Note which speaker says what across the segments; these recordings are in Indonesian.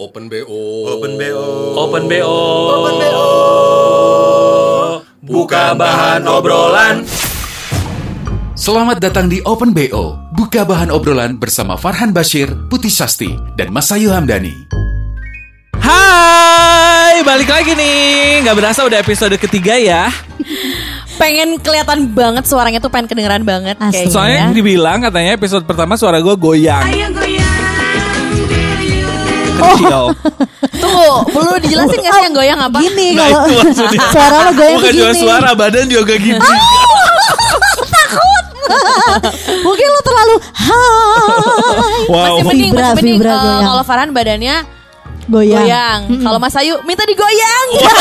Speaker 1: Open BO.
Speaker 2: Open BO.
Speaker 3: Open BO.
Speaker 2: Open BO.
Speaker 3: Buka bahan obrolan.
Speaker 4: Selamat datang di Open BO. Buka bahan obrolan bersama Farhan Bashir, Putih Sasti, dan Masayu Hamdani.
Speaker 3: Hai, balik lagi nih. Gak berasa udah episode ketiga ya.
Speaker 5: pengen kelihatan banget suaranya tuh pengen kedengeran banget gitu.
Speaker 6: Asli.
Speaker 5: kayaknya.
Speaker 3: Soalnya dibilang katanya episode pertama suara gue goyang. Kecil.
Speaker 5: Tunggu, perlu dijelasin gak sih yang goyang apa?
Speaker 6: Gini
Speaker 3: Nah,
Speaker 6: kalau
Speaker 3: itu maksudnya.
Speaker 6: Iya. suara lo goyang
Speaker 3: Bukan cuma
Speaker 6: begini.
Speaker 3: suara, badan juga gitu. gini.
Speaker 6: Mungkin lo terlalu hai
Speaker 3: Wow.
Speaker 5: Masih mending,
Speaker 6: Vibra,
Speaker 5: masih mending
Speaker 6: vibra
Speaker 5: eh,
Speaker 6: goyang. Iya.
Speaker 5: kalau Farhan badannya
Speaker 6: goyang.
Speaker 5: goyang. Kalau Mas Ayu minta digoyang.
Speaker 6: Iya.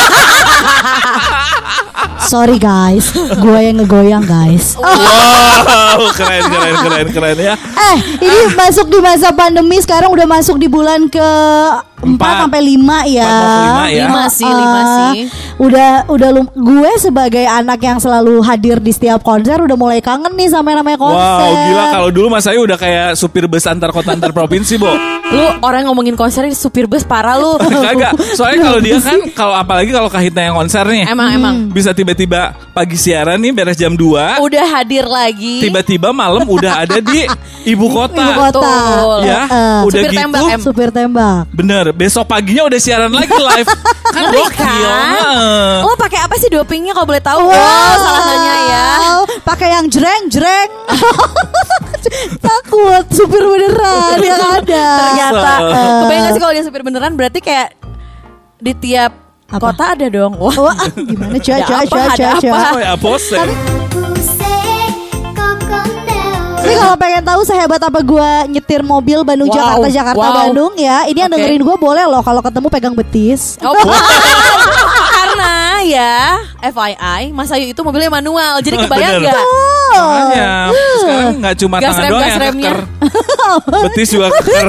Speaker 6: Sorry guys, gue yang ngegoyang guys. Oh,
Speaker 3: Wow, keren, keren, keren, keren ya.
Speaker 6: Eh, ini masuk di masa pandemi sekarang udah masuk di bulan ke 4
Speaker 3: Empat. Empat sampai
Speaker 6: sampai 5 ya.
Speaker 3: lima ya.
Speaker 5: Lima sih, lima
Speaker 6: Eh,
Speaker 5: sih.
Speaker 6: Udah udah lum- gue sebagai anak yang selalu hadir di setiap konser udah mulai kangen nih sama yang namanya konser.
Speaker 3: Wow, gila kalau dulu Mas Ayu udah kayak supir bus antar kota antar provinsi, Bo.
Speaker 5: lu orang ngomongin konser ini supir bus parah lu.
Speaker 3: Kagak. Soalnya kalau dia kan kalau apalagi kalau Kahitna yang konser nih. Hmm.
Speaker 5: emang emang Oh,
Speaker 3: Bisa tiba-tiba pagi siaran nih beres jam 2
Speaker 5: udah hadir lagi.
Speaker 3: Tiba-tiba malam udah ada di ibu kota,
Speaker 6: Ibu kota.
Speaker 5: Betul.
Speaker 3: Ya
Speaker 6: Eh,
Speaker 3: udah
Speaker 5: Supir
Speaker 3: gitu
Speaker 5: tembak, em.
Speaker 6: Supir tembak.
Speaker 3: Bener besok paginya udah siaran lagi live Kan
Speaker 5: Ngeri
Speaker 3: gokil
Speaker 5: kan?
Speaker 3: heeh.
Speaker 5: Lo pakai apa sih dopingnya kalau boleh tahu?
Speaker 6: Wow.
Speaker 5: Oh, salah nanya ya.
Speaker 6: Pakai yang jreng-jreng. Takut supir beneran yang ada.
Speaker 5: Ternyata.
Speaker 6: Eh.
Speaker 5: Kebayang gak sih kalau dia supir beneran berarti kayak di tiap
Speaker 6: Apa?
Speaker 5: kota ada dong. Wah.
Speaker 6: Wah, gimana cuy,
Speaker 5: Ada
Speaker 6: cuy,
Speaker 5: apa,
Speaker 6: cuy,
Speaker 5: ada
Speaker 6: cuy, cuy.
Speaker 5: apa?
Speaker 3: Oh ya pose
Speaker 6: Ini kalau pengen tahu sehebat apa gue nyetir mobil Bandung
Speaker 5: Wow,
Speaker 6: Jakarta Jakarta
Speaker 5: wow.
Speaker 6: Bandung ya. Ini yang
Speaker 5: Oke.
Speaker 6: dengerin gue boleh loh kalau ketemu pegang betis.
Speaker 5: Oh, karena ya FYI Mas Ayu itu mobilnya manual Jadi kebayang
Speaker 3: Bener.
Speaker 5: gak
Speaker 6: Oh.
Speaker 3: Makanya Sekarang gak cuma tangan
Speaker 5: Gas rem,
Speaker 3: doang
Speaker 5: gas
Speaker 3: yang
Speaker 5: remnya.
Speaker 3: keker Betis juga keker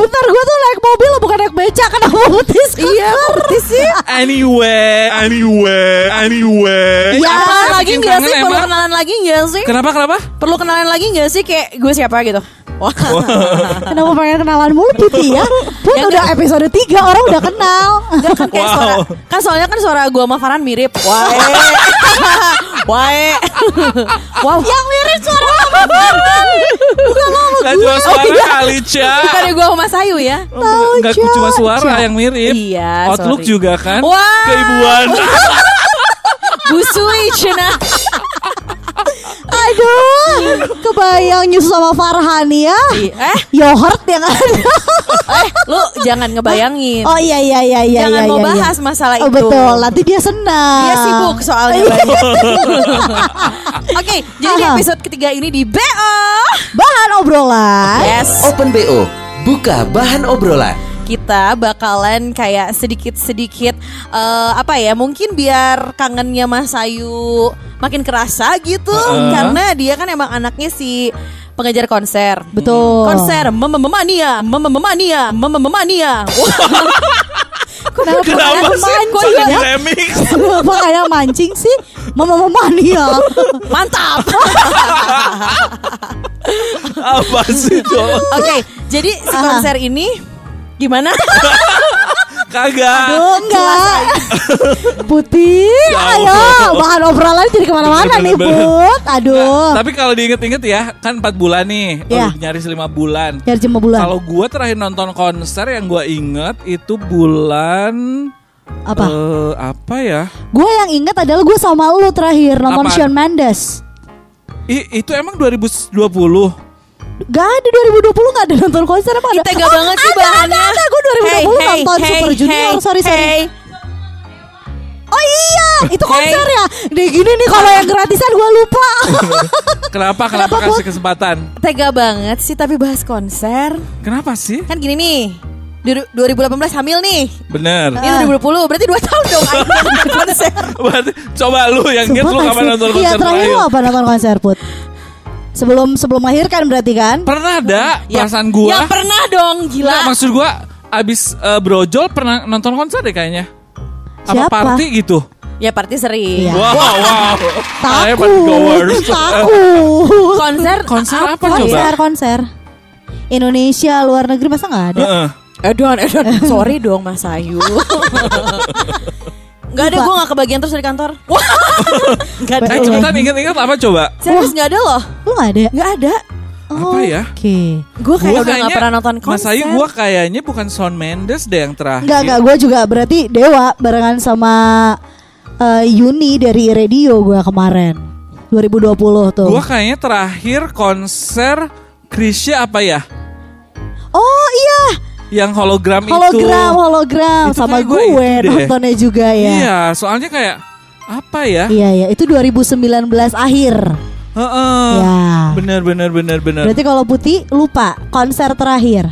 Speaker 6: Bentar gue tuh naik mobil loh bukan naik becak kenapa betis? Iya, betis sih.
Speaker 3: Anyway Anyway Anyway
Speaker 6: Ya,
Speaker 3: Apa
Speaker 5: Kenalan
Speaker 3: sih
Speaker 5: lagi
Speaker 3: bikin
Speaker 5: gak
Speaker 3: kangen
Speaker 5: Iya, sih Perlu
Speaker 3: emang?
Speaker 5: kenalan lagi gak sih
Speaker 3: Kenapa kenapa?
Speaker 5: Perlu kenalan lagi gak sih Kayak gue siapa gitu Wah
Speaker 6: Kenapa pengen kenalan mulu Putih ya? Put udah episode 3 orang udah kenal.
Speaker 5: Enggak kan kayak
Speaker 3: Wow.
Speaker 5: suara Kan soalnya kan suara gue sama Farhan mirip Wae Wae Wow Yang mirip suara
Speaker 3: Gak cuma suara kali Ca
Speaker 5: Bukan gue sama Mas Ayu ya
Speaker 3: Gak
Speaker 6: Ca,
Speaker 3: cuma suara
Speaker 6: Ca.
Speaker 3: yang mirip
Speaker 5: Iya,
Speaker 3: Outlook
Speaker 5: sorry.
Speaker 3: juga kan
Speaker 5: Wah.
Speaker 3: Keibuan
Speaker 5: Busui Cina
Speaker 6: Aduh, kebayang nyusu sama Farhan ya.
Speaker 5: Eh
Speaker 6: Yogurt yang ada.
Speaker 5: Eh Lu jangan ngebayangin
Speaker 6: Oh iya iya iya iya.
Speaker 5: Jangan
Speaker 6: iya,
Speaker 5: mau
Speaker 6: iya, iya.
Speaker 5: bahas masalah
Speaker 6: Oh,
Speaker 5: itu.
Speaker 6: betul, nanti dia senang. Iya.
Speaker 5: Dia sibuk soalnya ya. banyak. Oke, jadi di episode ketiga ini di BO
Speaker 6: Bahan obrolan.
Speaker 5: Yes
Speaker 2: Open BO. Buka bahan obrolan.
Speaker 5: Kita bakalan kayak sedikit-sedikit eh, Apa ya, mungkin biar kangennya Mas Ayu makin kerasa gitu
Speaker 3: Heeh.
Speaker 5: Karena dia kan emang anaknya si pengejar konser
Speaker 6: Betul.
Speaker 5: Konser mememania, mememania, mememania
Speaker 6: Kenapa,
Speaker 3: Kenapa sih?
Speaker 6: kayak
Speaker 3: Kok
Speaker 6: mancing
Speaker 3: jadi
Speaker 6: ya?
Speaker 3: remix?
Speaker 6: Kenapa kayak mancing sih? Mama mama ya.
Speaker 5: Mantap
Speaker 3: Apa sih Jo?
Speaker 5: Oke, jadi si
Speaker 6: Aha.
Speaker 5: konser ini gimana?
Speaker 3: Kagak
Speaker 5: Ah,
Speaker 6: Aduh, enggak. Putih, ayo bahan obrolan jadi kemana-mana
Speaker 3: Bener,
Speaker 6: nih,
Speaker 3: bener, bener.
Speaker 6: Put.
Speaker 3: Nah,
Speaker 6: Aduh.
Speaker 3: Tapi kalau diinget-inget ya Kan 4 bulan nih
Speaker 6: Iya.
Speaker 3: Aduh, Nyaris 5 bulan
Speaker 6: Nyari jam bulan.
Speaker 3: Kalau gue terakhir nonton konser yang gue inget itu bulan
Speaker 6: Apa?
Speaker 3: eh, apa ya?
Speaker 6: Gue yang ingat adalah gue sama lu terakhir nonton
Speaker 3: Apaan?
Speaker 6: Shawn Mendes.
Speaker 3: I- itu emang 2020.
Speaker 6: Gak ada 2020 gak ada nonton konser apa ada?
Speaker 5: Tega banget sih
Speaker 6: ada,
Speaker 5: bahannya.
Speaker 6: Ada, ada, gue 2020 nonton Super Junior, sorry, sorry.
Speaker 5: hey.
Speaker 6: Oh iya, itu
Speaker 5: Hey.
Speaker 6: konser ya. Nih gini nih kalau yang gratisan gue lupa.
Speaker 3: Kenapa? Kenapa
Speaker 6: Kenapa,
Speaker 3: kasih
Speaker 6: Bud?
Speaker 3: kesempatan?
Speaker 5: Tega banget sih tapi bahas konser.
Speaker 3: Kenapa sih?
Speaker 5: Kan gini nih. du- 2018 hamil nih.
Speaker 3: Bener.
Speaker 5: Ini 2020, berarti 2 tahun dong. akhirnya konser.
Speaker 3: Berarti- Coba lu yang inget lu
Speaker 6: Sumpah
Speaker 3: kapan
Speaker 6: asli.
Speaker 3: nonton
Speaker 6: Iya
Speaker 3: konser
Speaker 6: terakhir
Speaker 3: terakhir?
Speaker 6: lo apa nonton konser Put? Sebelum sebelum melahirkan berarti kan?
Speaker 3: Pernah ada
Speaker 5: Ya-
Speaker 3: perasaan gue?
Speaker 5: Ya pernah dong, gila.
Speaker 3: maksud gue abis eh, brojol pernah nonton konser deh kayaknya. Apa
Speaker 6: Siapa?
Speaker 3: party gitu?
Speaker 5: ya party sering.
Speaker 6: Iya.
Speaker 3: Wow, wow. Saya party
Speaker 6: Takut,
Speaker 3: goers.
Speaker 6: takut.
Speaker 5: Konser
Speaker 3: Konser apa
Speaker 6: konser
Speaker 3: coba?
Speaker 6: konser. Indonesia luar negeri masa nggak ada?
Speaker 3: Heeh.
Speaker 5: Edan, Edan. eh, Sorry dong Mas Ayu. Gak ada, gue gak kebagian terus dari kantor. Wah, gak
Speaker 3: Eh
Speaker 5: ada.
Speaker 6: Betul.
Speaker 3: cepetan inget-inget apa coba?
Speaker 5: Serius gak ada loh.
Speaker 6: Lu gak ada? Oh,
Speaker 5: Gak ada.
Speaker 3: Apa ya?
Speaker 6: Oke.
Speaker 5: Gue kayak
Speaker 3: Gua
Speaker 5: udah gak
Speaker 3: kayaknya-
Speaker 5: pernah nonton
Speaker 3: Mas
Speaker 5: konser.
Speaker 3: Ayu gue kayaknya bukan Shawn Mendes deh yang terakhir.
Speaker 6: Enggak, enggak. Gue juga berarti Dewa barengan sama eh, Yuni dari Radio gue kemarin. 2020 tuh.
Speaker 3: Gue kayaknya terakhir konser Krisya apa ya?
Speaker 6: Oh iya,
Speaker 3: Yang hologram, itu.
Speaker 6: hologram, hologram
Speaker 3: Itu
Speaker 6: sama
Speaker 3: kayak gua
Speaker 6: gue
Speaker 3: itu deh.
Speaker 6: nontonnya juga ya.
Speaker 3: Iya, soalnya kayak apa ya?
Speaker 6: Iya, iya. Itu 2019 akhir.
Speaker 3: Heeh.
Speaker 6: Ya.
Speaker 3: Bener bener bener bener.
Speaker 6: Berarti kalau putih lupa konser terakhir.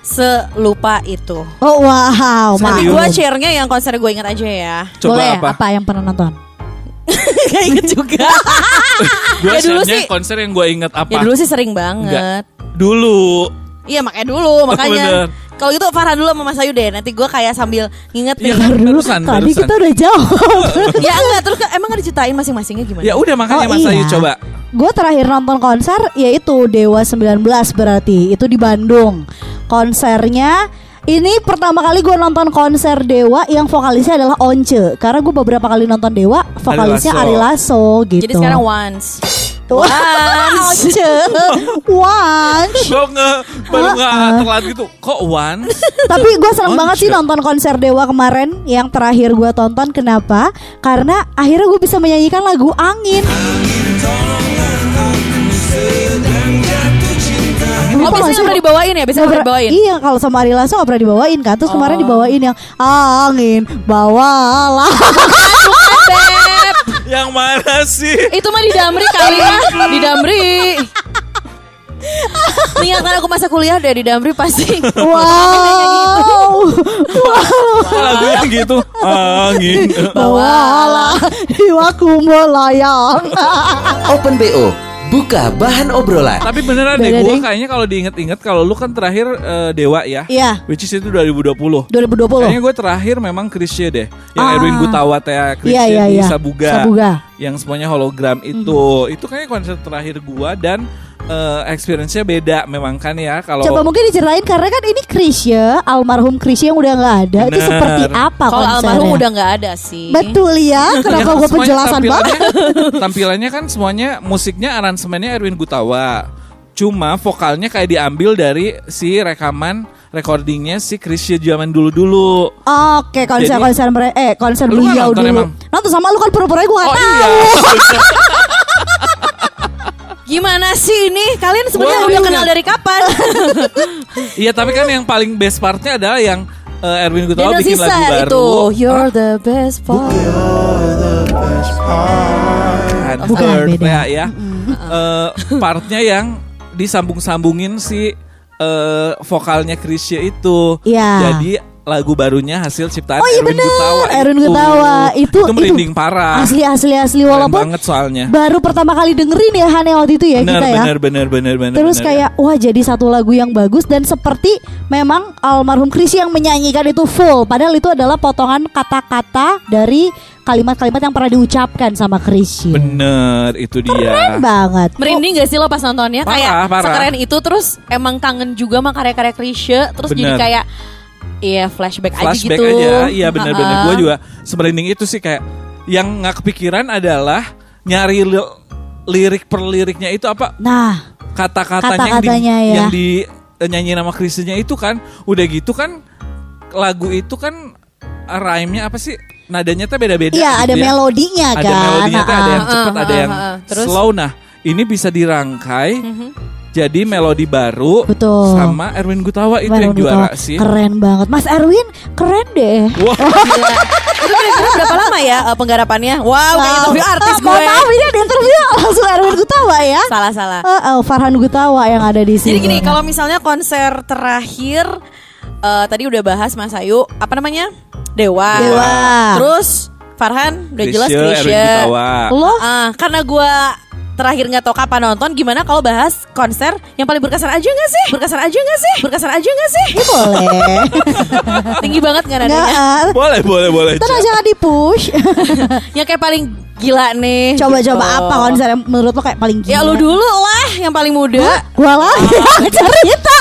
Speaker 5: Selupa itu.
Speaker 6: Oh wow,
Speaker 5: Tapi
Speaker 3: Serius?
Speaker 5: gue
Speaker 6: maaf.
Speaker 5: share-nya yang konser gue ingat aja ya.
Speaker 3: Coba
Speaker 6: Boleh ya?
Speaker 3: apa?
Speaker 6: yang pernah nonton?
Speaker 5: gak inget juga.
Speaker 3: Gue
Speaker 5: Ya dulu sih-
Speaker 3: konser yang gue inget apa?
Speaker 5: ya dulu sih sering banget.
Speaker 3: Dulu.
Speaker 5: Iya makanya dulu,
Speaker 3: Bener.
Speaker 5: makanya. Kalau gitu Farhan dulu sama Mas Ayu deh. Nanti gue kayak sambil
Speaker 3: Ya
Speaker 5: ngingetin.
Speaker 3: kan
Speaker 6: Dulu
Speaker 3: barusan,
Speaker 6: tadi
Speaker 3: barusan.
Speaker 6: kita udah jawab.
Speaker 5: ya enggak, terus kan- emang ada ceritain masing-masingnya gimana?
Speaker 3: Ya udah makanya Mas Ayu coba.
Speaker 6: Gue Oh, iya. terakhir nonton konser yaitu Dewa 19 berarti itu di Bandung. Konsernya ini pertama kali gue nonton konser Dewa yang vokalisnya adalah Once karena gue beberapa kali nonton Dewa vokalisnya
Speaker 3: Ari
Speaker 6: Ari Lasso gitu.
Speaker 5: Jadi sekarang once.
Speaker 6: Tuh. Once, Once.
Speaker 3: Gue nge baru nggak telat gitu. Kok Wan?
Speaker 6: Tapi gue seneng
Speaker 3: Once.
Speaker 6: banget sih nonton konser Dewa kemarin Yang terakhir gue tonton Kenapa? Karena akhirnya gue bisa menyanyikan lagu Angin
Speaker 5: Oh,
Speaker 6: Lu tau gak
Speaker 5: biasanya
Speaker 6: sih?
Speaker 5: nggak pernah dibawain ya, biasanya nggak pernah dibawain. Oh.
Speaker 6: Iya kalau sama Ari Lasso gak pernah dibawain kan Terus kemarin dibawain yang Angin bawalah
Speaker 5: Beb,
Speaker 3: yang mana sih?
Speaker 5: itu mah di Damri kali, ya. di Damri. Ingatan aku masa kuliah deh di Damri pasti.
Speaker 6: Wow
Speaker 3: Kok lagu yang gitu? Angin.
Speaker 6: Bawalah Jiwaku melayang
Speaker 2: Open BO, buka bahan obrolan.
Speaker 3: Tapi beneran
Speaker 6: Beda
Speaker 3: deh, gue
Speaker 6: deh.
Speaker 3: kayaknya kalau diinget-inget kalau lu kan terakhir eh, Dewa ya.
Speaker 6: Iya
Speaker 3: Which is itu 2020.
Speaker 6: 2020
Speaker 3: Kayaknya gue terakhir memang Krisya deh. Yang
Speaker 6: Ah.
Speaker 3: Edwin Gutawa, Thea Krisya
Speaker 6: Iya iya
Speaker 3: di
Speaker 6: iya
Speaker 3: Sabuga.
Speaker 6: Sabuga
Speaker 3: Yang semuanya hologram itu.
Speaker 6: Mhm.
Speaker 3: Itu kayaknya konser terakhir gue dan eh, experience-nya beda memang kan ya. Kalau
Speaker 6: Coba mungkin diceritain karena kan ini Krisya, almarhum Krisya yang udah nggak ada. Itu
Speaker 3: Bener.
Speaker 6: seperti apa
Speaker 5: Kalau
Speaker 6: konsernya?
Speaker 5: almarhum udah nggak ada sih.
Speaker 6: Betul ya,
Speaker 3: Ya,
Speaker 6: kenapa gue
Speaker 3: semuanya
Speaker 6: penjelasan banget?
Speaker 3: tampilannya- Tampilannya kan semuanya musiknya aransemennya Erwin Gutawa. Cuma vokalnya kayak diambil dari si rekaman recordingnya si Krisya zaman dulu-dulu.
Speaker 6: Oke, konser-konser mereka eh konser
Speaker 3: Lu kan
Speaker 6: beliau
Speaker 3: nonton
Speaker 6: dulu.
Speaker 3: emang? Oh, iya,
Speaker 6: Nonton sama lu kan pura-pura gue nggak tahu.
Speaker 5: Gimana sih ini? Kalian sebenarnya
Speaker 3: Wah,
Speaker 5: udah
Speaker 3: iya.
Speaker 5: kenal dari kapan?
Speaker 3: Iya tapi kan yang paling best partnya adalah yang eh, Erwin Gutawa
Speaker 5: Daniel
Speaker 3: bikin lagu
Speaker 5: Caesar
Speaker 3: baru.
Speaker 5: itu. You're the best part.
Speaker 3: Bukan,
Speaker 6: Bukan,
Speaker 3: third,
Speaker 6: beda. Mm.
Speaker 3: Thea, ya. Eh, partnya yang disambung-sambungin si eh, vokalnya Krisya itu.
Speaker 6: Iya.
Speaker 3: Jadi lagu barunya hasil ciptaan
Speaker 6: Oh iya
Speaker 3: Erwin Gutawa.
Speaker 6: benar, Erwin
Speaker 3: itu.
Speaker 6: Gutawa Ah, itu
Speaker 3: itu merinding parah.
Speaker 6: Asli asli asli
Speaker 3: Keren
Speaker 6: walaupun
Speaker 3: banget ya. soalnya.
Speaker 6: baru pertama kali dengerin ya Hane waktu itu ya
Speaker 3: Bener,
Speaker 6: kita ya.
Speaker 3: bener, bener, bener, bener.
Speaker 6: Terus
Speaker 3: bener.
Speaker 6: kayak wah jadi satu lagu yang bagus dan seperti memang almarhum Krisya yang menyanyikan itu full padahal itu adalah potongan kata-kata dari kalimat-kalimat yang pernah diucapkan sama Krisya.
Speaker 3: Bener, itu dia.
Speaker 6: Keren banget.
Speaker 5: Merinding gak sih lo pas nontonnya?
Speaker 3: Parah,
Speaker 5: kayak
Speaker 3: parah.
Speaker 5: sekeren itu terus emang kangen juga sama karya-karya Krisye terus jadi
Speaker 3: Bener.
Speaker 5: kayak iya flashback,
Speaker 3: flashback
Speaker 5: aja gitu.
Speaker 3: aja. Iya benar-benar.
Speaker 5: Ha-ha.
Speaker 3: Gue juga semerinding itu sih kayak yang nggak kepikiran adalah nyari li- lirik per liriknya itu apa
Speaker 6: Nah,
Speaker 3: kata-katanya yang di,
Speaker 6: Kata-katanya ya.
Speaker 3: yang di eh, nyanyi nama Krisnya itu kan udah gitu kan lagu itu kan eh, rhyme-nya apa sih nadanya tuh beda-beda.
Speaker 6: iya
Speaker 3: gitu
Speaker 6: ada
Speaker 3: ya.
Speaker 6: melodinya
Speaker 3: Ada
Speaker 6: kan.
Speaker 3: melodinya tuh ada yang
Speaker 5: Ah,
Speaker 3: cepat,
Speaker 5: ah,
Speaker 3: ada
Speaker 5: ah,
Speaker 3: yang
Speaker 5: ah, ah. Terus?
Speaker 3: slow. Nah, ini bisa dirangkai jadi melodi baru
Speaker 6: Betul.
Speaker 3: sama Erwin Gutawa itu yang
Speaker 6: Baru
Speaker 3: juara
Speaker 6: ditawa.
Speaker 3: sih.
Speaker 6: Keren banget. Mas Erwin keren deh.
Speaker 3: Wah.
Speaker 5: Gila. Itu kira-kira berapa lama ya eh, penggarapannya? Wow, kayak
Speaker 6: Wow.
Speaker 5: interview artis
Speaker 6: Ah,
Speaker 5: gue.
Speaker 6: Mohon maaf ini ada interview langsung Erwin Gutawa ya.
Speaker 5: Salah salah.
Speaker 6: Eh, eh, Farhan Gutawa yang ada di sini.
Speaker 5: Jadi gini, kalau misalnya konser terakhir eh, tadi udah bahas Mas Ayu, apa namanya? Dewa.
Speaker 6: Dewa.
Speaker 5: Terus Farhan udah jelas
Speaker 3: Chrisye, Erwin
Speaker 5: Krisye.
Speaker 3: Gutawa.
Speaker 6: lo
Speaker 5: Ah, karena gue terakhir nggak tahu kapan nonton, gimana kalau bahas konser yang paling berkesan aja nggak sih? Berkesan aja nggak sih? Berkesan aja nggak sih?
Speaker 6: ini boleh.
Speaker 5: ya. Tinggi banget kan nggak
Speaker 6: Nggak,
Speaker 5: nadanya?
Speaker 6: eh,
Speaker 3: Boleh, boleh, boleh.
Speaker 6: Tenang jangan di push.
Speaker 5: yang kayak paling gila nih.
Speaker 6: Coba-coba
Speaker 5: gitu.
Speaker 6: apa konser yang menurut lo kayak paling gila?
Speaker 5: Ya lu dulu lah yang paling muda.
Speaker 6: Gua lagi cerita.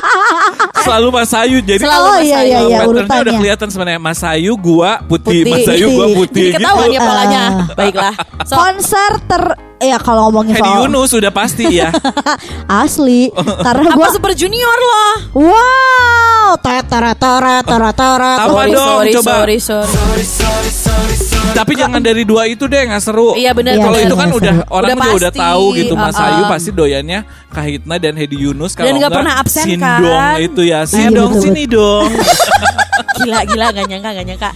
Speaker 3: Cak. selalu Mas Ayu. Jadi
Speaker 5: Selalu
Speaker 6: Oh
Speaker 5: Mas
Speaker 6: iya iya
Speaker 5: Ayu.
Speaker 6: iya
Speaker 3: patternnya udah
Speaker 6: urutannya.
Speaker 3: kelihatan sebenarnya Mas Ayu gua putih,
Speaker 5: Putih.
Speaker 3: Mas Ayu gua
Speaker 6: Putih.
Speaker 3: putih.
Speaker 5: Jadi ketahuan
Speaker 3: gitu.
Speaker 5: ya polanya. Baiklah. So,
Speaker 6: Konser ter ya kalau ngomongin
Speaker 3: Hedi
Speaker 6: soal
Speaker 3: Yunus sudah pasti ya.
Speaker 6: asli karena
Speaker 5: apa
Speaker 6: gua
Speaker 5: Super Junior loh.
Speaker 6: wow teret teret teret teret teret
Speaker 3: Apa
Speaker 5: sorry,
Speaker 3: dong,
Speaker 5: sorry,
Speaker 3: coba.
Speaker 5: sorry, sorry.
Speaker 3: Tapi jangan dari dua itu deh nggak seru.
Speaker 5: Iya, benar.
Speaker 3: Kalau
Speaker 6: Iya,
Speaker 3: itu kan
Speaker 6: benar,
Speaker 3: udah
Speaker 6: seru.
Speaker 3: orang
Speaker 5: Udah
Speaker 3: udah, udah
Speaker 5: pasti,
Speaker 3: tahu gitu Mas
Speaker 5: uh-uh.
Speaker 3: Ayu pasti doyannya Kahitna dan Hedi Yunus kalau
Speaker 5: Dan nggak pernah absen,
Speaker 3: Sindong
Speaker 5: kan?
Speaker 3: itu ya.
Speaker 6: Iya,
Speaker 3: Sindong
Speaker 6: betul,
Speaker 3: sini dong.
Speaker 5: Gila, gila, gak nyangka, gak nyangka.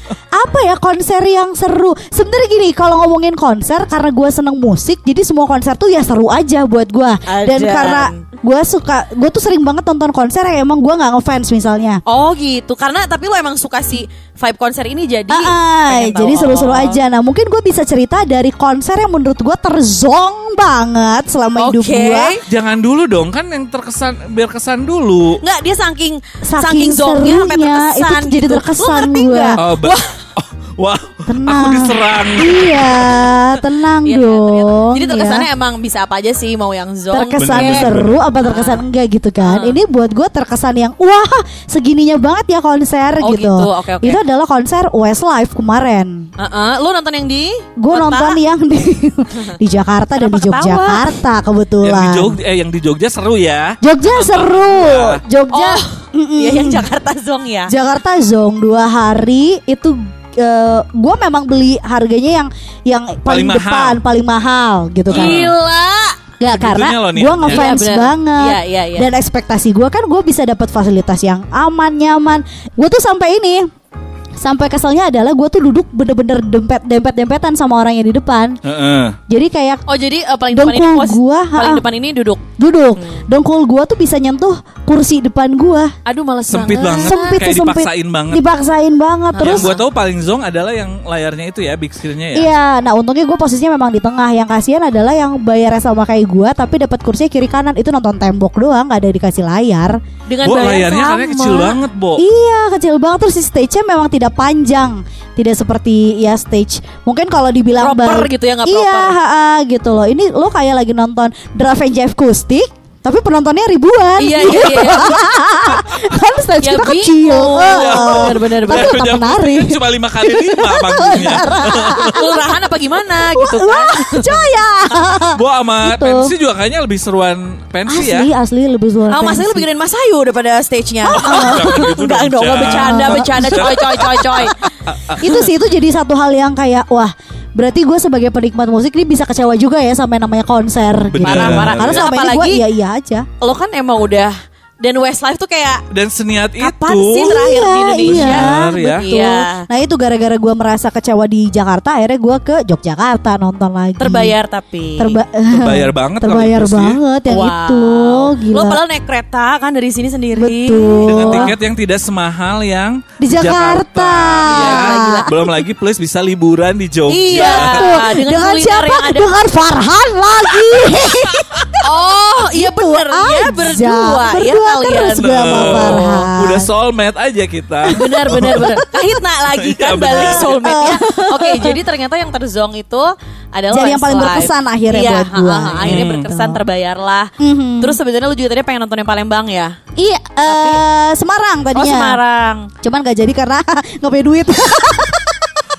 Speaker 6: apa ya konser yang seru sebenarnya gini kalau ngomongin konser karena gue seneng musik jadi semua konser tuh ya seru aja buat gue dan
Speaker 5: Ajan.
Speaker 6: karena gue suka gue tuh sering banget nonton konser yang emang gue nggak ngefans misalnya
Speaker 5: Oh gitu, karena tapi lo emang suka si vibe konser ini jadi
Speaker 6: Ah, ah,
Speaker 5: pengen tahu.
Speaker 6: jadi seru-seru
Speaker 5: Oh.
Speaker 6: aja. Nah, mungkin gue bisa cerita dari konser yang menurut gue terzong banget selama hidup
Speaker 5: Oke.
Speaker 6: gue.
Speaker 3: Jangan dulu dong kan yang terkesan berkesan dulu.
Speaker 5: Nggak, dia saking saking,
Speaker 6: Saking
Speaker 5: zongnya sampai
Speaker 6: serunya,
Speaker 5: terkesan
Speaker 6: itu jadi
Speaker 5: gitu.
Speaker 6: terkesan Iya,
Speaker 5: Lo ngerti
Speaker 6: gue.
Speaker 5: nggak?
Speaker 3: Oh, ba- Oh, wah, aku
Speaker 6: Tenang.
Speaker 3: diserang.
Speaker 6: Iya, tenang
Speaker 5: Iya, ternyata.
Speaker 6: dong.
Speaker 5: Jadi
Speaker 6: ya.
Speaker 5: terkesannya emang bisa apa aja sih mau yang zong.
Speaker 6: terkesan
Speaker 3: Bener.
Speaker 6: seru apa terkesan
Speaker 5: Ah.
Speaker 6: enggak gitu kan ini buat gue terkesan yang wah segininya banget ya konser
Speaker 5: Oh,
Speaker 6: gitu,
Speaker 5: gitu. Oke, oke.
Speaker 6: itu adalah konser Westlife kemarin
Speaker 5: Heeh, eh, Lo nonton yang di?
Speaker 6: gue
Speaker 5: kota?
Speaker 6: nonton yang di di Jakarta dan di
Speaker 5: Kenapa ketawa?
Speaker 6: Yogyakarta
Speaker 3: Yang di
Speaker 6: kebetulan
Speaker 3: Jogja, eh, yang di Jogja seru ya.
Speaker 6: Jogja seru Jogja
Speaker 5: Oh, iya yang Jakarta zong
Speaker 3: Ah.
Speaker 5: ya.
Speaker 6: Jakarta Zong dua hari itu gue memang beli harganya yang yang paling,
Speaker 3: Paling mahal. Iya.
Speaker 6: depan paling mahal gitu kan
Speaker 5: Gila.
Speaker 6: Gak karena
Speaker 3: Segitunya loh, Nia.
Speaker 6: gue ngefans
Speaker 5: Iya, bener.
Speaker 6: banget
Speaker 5: Iya, iya, iya.
Speaker 6: dan ekspektasi gue kan gue bisa dapat fasilitas yang aman nyaman. Gue tuh sampai ini sampai keselnya adalah gue tuh duduk bener-bener dempet dempet dempetan sama orang yang di depan.
Speaker 3: Heeh.
Speaker 6: Jadi kayak
Speaker 5: Oh jadi eh, paling depan ini
Speaker 6: Dengkul
Speaker 5: pos,
Speaker 6: gua,
Speaker 5: paling
Speaker 6: ha-ha.
Speaker 5: depan ini duduk.
Speaker 6: duduk
Speaker 3: Hmm.
Speaker 6: dongkol gue tuh bisa nyentuh kursi depan gue.
Speaker 5: Aduh males
Speaker 3: Sempit banget.
Speaker 6: Sempit
Speaker 3: Kayak
Speaker 6: tuh sempit.
Speaker 3: dipaksain banget.
Speaker 6: Dipaksain banget terus.
Speaker 3: yang gue tahu paling zong adalah yang layarnya itu ya, big screen-nya ya.
Speaker 6: Iya, nah untungnya gue posisinya memang di tengah. Yang kasihan adalah yang bayarnya sama kayak gue, tapi dapat kursinya kiri kanan itu nonton tembok doang, gak ada dikasih layar.
Speaker 5: Dengan
Speaker 3: Bo,
Speaker 5: bayar
Speaker 3: layarnya
Speaker 5: Iya, sama.
Speaker 3: karena kecil banget, Bo.
Speaker 6: Iya kecil banget terus si stage-nya memang tidak panjang Tidak seperti ya stage Mungkin kalau dibilang
Speaker 5: Proper
Speaker 6: baik-
Speaker 5: gitu ya, nggak
Speaker 6: Iya
Speaker 5: proper.
Speaker 6: ha-ha, gitu loh Ini lo kayak lagi nonton Draft and Jeff Kustik Tapi penontonnya ribuan
Speaker 5: Iya iya iya.
Speaker 6: Kan stage
Speaker 5: Ya,
Speaker 6: kita
Speaker 5: bingung.
Speaker 6: kecil
Speaker 5: Bener, bener,
Speaker 6: Tapi
Speaker 5: bener.
Speaker 6: tetap
Speaker 3: Jam-
Speaker 6: menarik
Speaker 3: Cuma lima kali lima panggungnya.
Speaker 5: Kelurahan apa gimana gitu kan.
Speaker 6: Wah coya
Speaker 3: Bo sama
Speaker 6: Gitu.
Speaker 3: pensi juga kayaknya lebih seruan pensi ya.
Speaker 6: Asli asli lebih suara
Speaker 5: Ah, Mas Ayu lebih gedein Mas Ayu daripada stage-nya.
Speaker 3: gitu
Speaker 5: Enggak dong, enggak bercanda, bercanda coy coy coy coy.
Speaker 6: itu sih itu jadi satu hal yang kayak wah berarti gue sebagai penikmat musik ini bisa kecewa juga ya sama yang namanya konser gitu.
Speaker 3: Parah, parah.
Speaker 6: karena selama ini gue
Speaker 5: Apalagi-
Speaker 6: iya iya aja
Speaker 5: Lo kan emang udah dan Westlife tuh kayak
Speaker 3: Dan seniat
Speaker 5: kapan
Speaker 3: itu.
Speaker 5: sih terakhir di
Speaker 6: Iya,
Speaker 5: Indonesia?
Speaker 6: iya,
Speaker 3: Gitu. Benar ya.
Speaker 6: betul. Nah itu gara-gara gue merasa kecewa di Jakarta Akhirnya gue ke Yogyakarta nonton lagi
Speaker 5: Terbayar tapi.
Speaker 6: Terba-
Speaker 3: Terbayar banget ya. kalau
Speaker 6: Terbayar
Speaker 3: itu sih.
Speaker 6: banget yang
Speaker 5: Wow.
Speaker 6: itu Gila
Speaker 5: Lo padahal naik kereta kan dari sini sendiri.
Speaker 6: Betul
Speaker 3: Dengan tiket yang tidak semahal yang
Speaker 6: Di Jakarta.
Speaker 3: Ya.
Speaker 6: Gila.
Speaker 3: Belum lagi plus bisa liburan di Jogja.
Speaker 5: Iya.
Speaker 6: Betul.
Speaker 5: Dengan
Speaker 6: Dengan,
Speaker 5: kuliner
Speaker 6: siapa?
Speaker 5: yang ada.
Speaker 6: Dengan Farhan lagi
Speaker 5: Oh, iya
Speaker 6: Gitu
Speaker 5: bener ya
Speaker 6: aja.
Speaker 5: berdua, ya
Speaker 6: Berdua
Speaker 5: kalian.
Speaker 6: terus gue sama
Speaker 3: Tuh,
Speaker 6: Farhan.
Speaker 3: Oh, Udah soulmate aja kita.
Speaker 5: Benar benar benar. Kahitna lagi kan
Speaker 3: Iya,
Speaker 5: balik
Speaker 3: benar.
Speaker 5: soulmate-nya. Oke, jadi ternyata yang terzong itu adalah
Speaker 6: Oh. Jadi yang paling
Speaker 5: Westlife.
Speaker 6: berkesan akhirnya
Speaker 5: Iya,
Speaker 6: buat gua.
Speaker 5: ha, ha, ha, akhirnya
Speaker 6: Hmm.
Speaker 5: berkesan terbayarlah.
Speaker 6: Mhm.
Speaker 5: Terus sebenarnya lu juga tadi pengen nonton yang Palembang ya?
Speaker 6: Iya eh, Semarang
Speaker 5: Oh,
Speaker 6: tadinya
Speaker 5: Semarang.
Speaker 6: Cuman gak jadi karena gak punya duit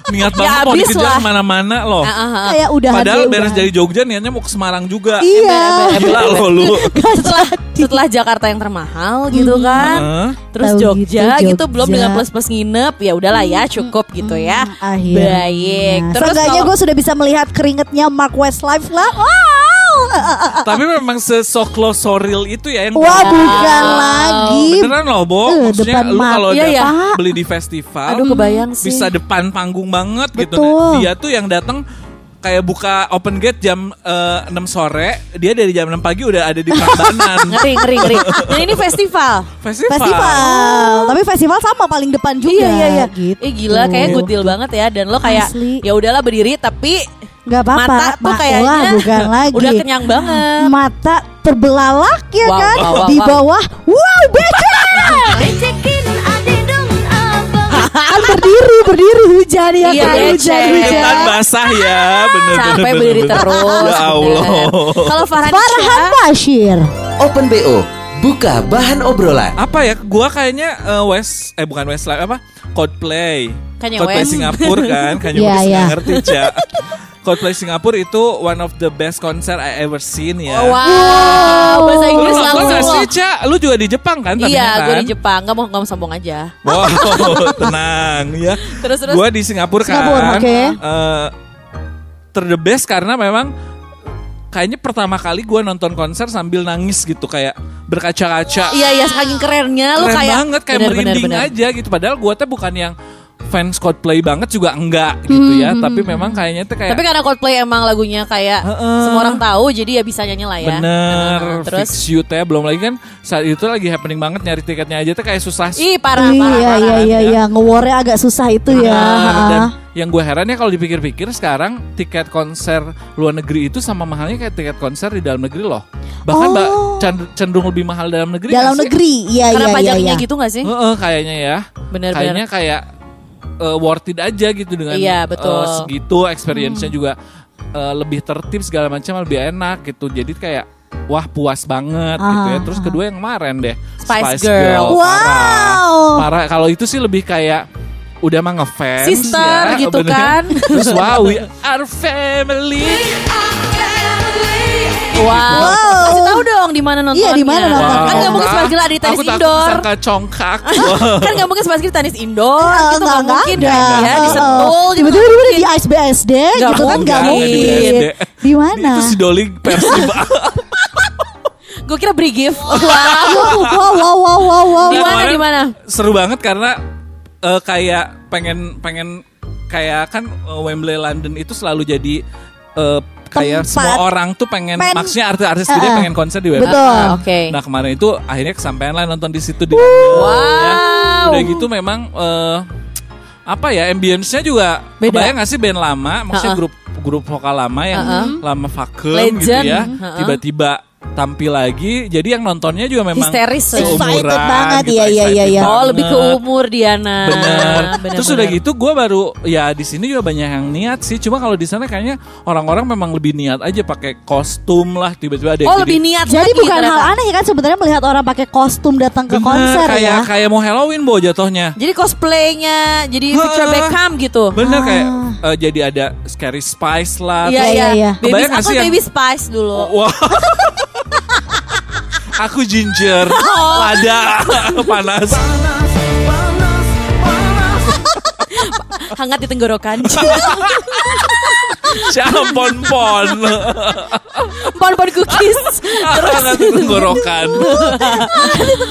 Speaker 3: Niat banget mau
Speaker 5: habis
Speaker 3: dikejar
Speaker 5: lah.
Speaker 3: mana-mana loh.
Speaker 5: Ah, ah, ah.
Speaker 6: Kayak udah
Speaker 3: Padahal beres dari Jogja niatnya mau ke Semarang juga.
Speaker 6: Iya
Speaker 3: Gila lo lu.
Speaker 5: Setelah setelah Jakarta yang termahal gitu kan.
Speaker 3: Heeh.
Speaker 5: Terus
Speaker 6: Hmm. Tahu
Speaker 5: Jogja gitu,
Speaker 6: gitu,
Speaker 5: belum
Speaker 6: Jogja.
Speaker 5: dengan plus-plus nginep ya udahlah ya cukup gitu ya.
Speaker 6: Hmm, akhirnya.
Speaker 5: Baik. Terus
Speaker 6: Seenggaknya
Speaker 5: kalau-
Speaker 6: gue sudah bisa melihat keringetnya Mark Westlife lah Wow
Speaker 3: Tapi memang sesoklo soril itu ya yang
Speaker 6: Wah bukan lagi
Speaker 3: Beneran loh Bo
Speaker 6: Eh,
Speaker 3: Maksudnya
Speaker 6: depan
Speaker 3: lu
Speaker 6: mata.
Speaker 3: kalau
Speaker 5: Iya,
Speaker 3: dapat
Speaker 5: iya.
Speaker 3: beli di
Speaker 6: hmm.
Speaker 3: festival
Speaker 5: Aduh, kebayang sih.
Speaker 3: Bisa depan panggung banget gitu
Speaker 6: Betul.
Speaker 3: Nah, Dia tuh yang datang kayak buka open gate jam eh, 6 sore Dia dari jam 6 pagi udah ada di Prambanan
Speaker 5: ngeri ngeri ngeri. Dan ini festival.
Speaker 3: Festival,
Speaker 6: Festival Tapi festival sama paling depan juga
Speaker 5: Iya iya iya.
Speaker 6: gitu.
Speaker 5: Eh gila kayaknya good deal banget ya dan lo kayak
Speaker 6: Asli.
Speaker 5: ya udahlah berdiri tapi
Speaker 6: Gak apa-apa
Speaker 5: mata tuh
Speaker 6: Ma-
Speaker 5: kayaknya
Speaker 6: Wah bukan lagi
Speaker 5: udah kenyang banget.
Speaker 6: Mata terbelalak ya
Speaker 5: Wow,
Speaker 6: kan
Speaker 5: wow, wow,
Speaker 6: Di
Speaker 5: wow.
Speaker 6: bawah Wow becek Kan berdiri Berdiri hujan ya
Speaker 5: Iya,
Speaker 6: kan
Speaker 5: becek.
Speaker 6: Hujan
Speaker 3: Keringetan
Speaker 6: hujan
Speaker 3: basah ya bener, bener,
Speaker 5: Iya. Capek
Speaker 3: bener,
Speaker 5: berdiri
Speaker 3: bener.
Speaker 5: terus. gitu ya.
Speaker 3: Ya Allah
Speaker 5: bener. Kalau Farhan
Speaker 6: Farhan Bashir
Speaker 2: Open BO, Buka bahan obrolan.
Speaker 3: apa ya gua kayaknya eh, West eh bukan Westlife apa Coldplay
Speaker 5: Kanye
Speaker 3: Coldplay
Speaker 5: West.
Speaker 3: Singapura kan Kanye
Speaker 6: Iya,
Speaker 3: West
Speaker 6: iya.
Speaker 3: nggak ngerti Ca. Coldplay Singapura itu one of the best concert I ever seen ya
Speaker 5: Oh, Wow, bahasa
Speaker 3: Lu
Speaker 5: Inggris
Speaker 3: nonton
Speaker 5: langsung.
Speaker 3: gak sih
Speaker 5: loh.
Speaker 3: Ca? Lu juga di Jepang kan tadinya
Speaker 5: Iya, gue
Speaker 3: kan?
Speaker 5: di Jepang. Gak mau ngomong sombong aja.
Speaker 3: Wow, tenang ya.
Speaker 5: Terus, terus.
Speaker 3: Gua di Singapura kan.
Speaker 6: Singapura, oke.
Speaker 3: Eh, terdebes karena memang kayaknya pertama kali gua nonton konser sambil nangis gitu kayak berkaca-kaca.
Speaker 5: Iya, iya, saking kerennya lu
Speaker 3: Keren
Speaker 5: kayak
Speaker 3: banget kayak
Speaker 5: Bener, bener,
Speaker 3: merinding
Speaker 5: bener.
Speaker 3: aja gitu. Padahal gua tuh bukan yang fans Coldplay banget juga enggak gitu ya. Tapi memang kayaknya tuh kayak
Speaker 5: Hmm. Tapi karena Coldplay emang lagunya kayak
Speaker 3: Heeh.
Speaker 5: semua orang tahu jadi ya bisa nyanyi lah ya.
Speaker 3: Bener,
Speaker 5: Heeh, Terus
Speaker 3: fix you teh belum lagi kan saat itu lagi happening banget nyari tiketnya aja tuh kayak susah
Speaker 5: ih parah
Speaker 6: Iya
Speaker 5: parah.
Speaker 6: iya
Speaker 5: parah.
Speaker 6: iya iya ngewarnya agak susah itu ya.
Speaker 5: Nah,
Speaker 3: Benar.
Speaker 6: Ha-ha.
Speaker 3: Dan yang gue herannya kalau dipikir-pikir sekarang tiket konser luar negeri itu sama mahalnya kayak tiket konser di dalam negeri loh. Bahkan ba-
Speaker 6: Oh.
Speaker 3: cend- cenderung lebih mahal dalam negeri.
Speaker 6: Dalam
Speaker 3: nggak sih?
Speaker 6: negeri, iya
Speaker 5: Karena
Speaker 6: iya iya.
Speaker 5: pajaknya
Speaker 6: iya.
Speaker 5: gitu gak sih?
Speaker 3: Heeh, kayaknya ya.
Speaker 5: Bener,
Speaker 3: Kayaknya kayak eh, worth it aja gitu dengan
Speaker 5: Iya, betul. Hmm.
Speaker 3: eh, segitu experience-nya juga eh, lebih tertib segala macam lebih enak gitu. Jadi kayak wah puas banget gitu ya.
Speaker 6: Ah,
Speaker 3: Terus kedua yang kemarin deh
Speaker 5: Spice Girl.
Speaker 3: Parah.
Speaker 6: Wow.
Speaker 3: Parah. Kalau itu sih lebih kayak udah mah ngefans
Speaker 5: Sister
Speaker 3: ya,
Speaker 5: gitu
Speaker 3: bener.
Speaker 5: kan.
Speaker 3: Terus wow, we are family.
Speaker 5: Wow.
Speaker 6: Wow.
Speaker 5: Kasih tahu dong di mana nontonnya.
Speaker 6: Iya, di mana nonton?
Speaker 5: Kan nggak mungkin
Speaker 3: Wow.
Speaker 5: Spice Girl ada di tenis
Speaker 3: Aku takut
Speaker 5: indoor.
Speaker 3: disangka congkak.
Speaker 5: kan nggak mungkin Spice Girl tenis indoor.
Speaker 6: Eh,
Speaker 5: gitu
Speaker 6: nggak-
Speaker 5: nggak
Speaker 6: nggak
Speaker 5: mungkin
Speaker 6: ada.
Speaker 5: kan ya di
Speaker 6: Eh,
Speaker 5: Sentul. juga
Speaker 6: tiba-tiba di mana?
Speaker 5: mungkin.
Speaker 6: di Ice BSD
Speaker 5: Nggak
Speaker 6: gitu kan nggak
Speaker 3: Nggak
Speaker 5: mungkin.
Speaker 3: ada di
Speaker 6: mungkin.
Speaker 3: BSD.
Speaker 6: Di mana?
Speaker 3: Itu si Doli Persib.
Speaker 5: Gue kira beri gift. Wow.
Speaker 6: Wow wow wow wow wow. wow.
Speaker 5: Di mana
Speaker 3: Kemarin
Speaker 5: di mana?
Speaker 3: Seru banget karena eh, kayak pengen pengen kayak kan eh, Wembley London itu selalu jadi eh, kayak
Speaker 6: Tempat.
Speaker 3: semua orang tuh pengen
Speaker 6: Pen-
Speaker 3: maksudnya artis-artis
Speaker 6: Eh,
Speaker 3: gede
Speaker 6: eh.
Speaker 3: pengen konser di Wembley.
Speaker 6: Betul.
Speaker 5: Ah, Oke.
Speaker 3: Nah kemarin itu akhirnya kesampaian lah nonton di situ di
Speaker 5: Wow.
Speaker 3: Udah gitu memang eh, apa ya ambience-nya juga
Speaker 5: Beda.
Speaker 3: kebayang gak sih band lama maksudnya
Speaker 5: Ha-ha.
Speaker 3: grup grup vokal lama yang lama vakum gitu
Speaker 5: Legend.
Speaker 3: ya
Speaker 5: Ha-ha.
Speaker 3: tiba-tiba tampil lagi jadi yang nontonnya juga memang
Speaker 5: Histeris.
Speaker 3: seumuran
Speaker 6: Excited banget,
Speaker 3: gitu,
Speaker 6: iya, iya, iya,
Speaker 3: excited
Speaker 6: iya.
Speaker 5: Oh lebih ke
Speaker 3: banget.
Speaker 5: umur Diana.
Speaker 3: Bener. Terus udah
Speaker 5: bener.
Speaker 3: gitu gue baru ya di sini juga banyak yang niat sih. Cuma kalau di sana kayaknya orang-orang memang lebih niat aja pakai kostum lah tiba-tiba ada yang
Speaker 5: Oh
Speaker 3: jadi-
Speaker 5: lebih niat.
Speaker 6: Jadi
Speaker 5: lagi
Speaker 6: bukan
Speaker 5: ternyata.
Speaker 6: hal aneh kan sebenarnya melihat orang pakai kostum datang ke
Speaker 3: Bener,
Speaker 6: konser
Speaker 3: kayak
Speaker 6: ya.
Speaker 3: kayak mau Halloween bo jatuhnya.
Speaker 5: Jadi cosplaynya jadi
Speaker 3: Heeh.
Speaker 5: Victor Iya, Beckham gitu.
Speaker 3: Bener kayak eh, jadi ada scary spice lah.
Speaker 5: Iya
Speaker 6: Iya,
Speaker 5: iya.
Speaker 6: iya.
Speaker 5: Baby,
Speaker 3: Kebayang nggak
Speaker 5: aku
Speaker 3: sih yang- Oh.
Speaker 5: baby Spice dulu.
Speaker 3: Wah. Aku ginger,
Speaker 5: Oh.
Speaker 3: lada, panas.
Speaker 5: Hangat di tenggorokan.
Speaker 3: Campon pon.
Speaker 5: Pon-pon cookies.
Speaker 3: Hangat tenggorokan.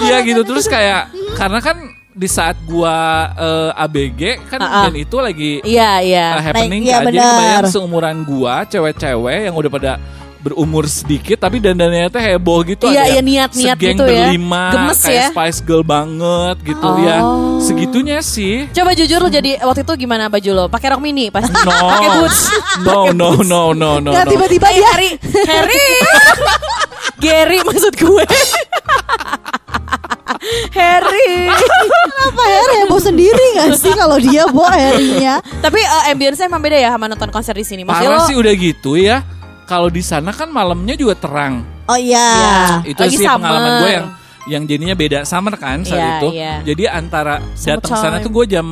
Speaker 3: Iya gitu terus kayak karena kan di saat gua eh, ABG kan
Speaker 5: Ah, ah.
Speaker 3: band itu lagi
Speaker 5: Iya iya.
Speaker 3: uh, happening
Speaker 6: Iya,
Speaker 3: kan. Jadi
Speaker 6: benar.
Speaker 3: kebayang seumuran gua cewek-cewek yang udah pada berumur sedikit tapi dandannya teh heboh gitu
Speaker 5: Iya,
Speaker 3: ada
Speaker 5: iya, niat-niat
Speaker 3: segeng
Speaker 5: gitu ya.
Speaker 3: berlima
Speaker 5: Gemes
Speaker 3: kayak
Speaker 5: ya. Oh.
Speaker 3: Spice Girl banget gitu ya segitunya sih
Speaker 5: Coba jujur lo jadi waktu itu gimana baju lo? Pakai rok mini pasti.
Speaker 3: no
Speaker 5: Pakai boots.
Speaker 3: no no no no no,
Speaker 6: Nggak,
Speaker 3: no.
Speaker 6: tiba-tiba dia
Speaker 5: Harry, Harry. Gary maksud gue. Harry.
Speaker 6: Kenapa Her heboh ya, sendiri gak sih kalau dia bawa Harry-nya?
Speaker 5: Tapi eh, ambience-nya emang beda ya sama nonton konser di sini. Maksudnya
Speaker 3: parah
Speaker 5: lo
Speaker 3: sih udah gitu ya kalau di sana kan malamnya juga terang
Speaker 6: Oh iya.
Speaker 3: itu
Speaker 5: Lagi
Speaker 3: sih pengalaman
Speaker 5: summer.
Speaker 3: gue yang yang jadinya beda summer kan saat
Speaker 5: Iya,
Speaker 3: itu.
Speaker 5: iya.
Speaker 3: Jadi antara datang sana
Speaker 5: Summertime.
Speaker 3: tuh gue jam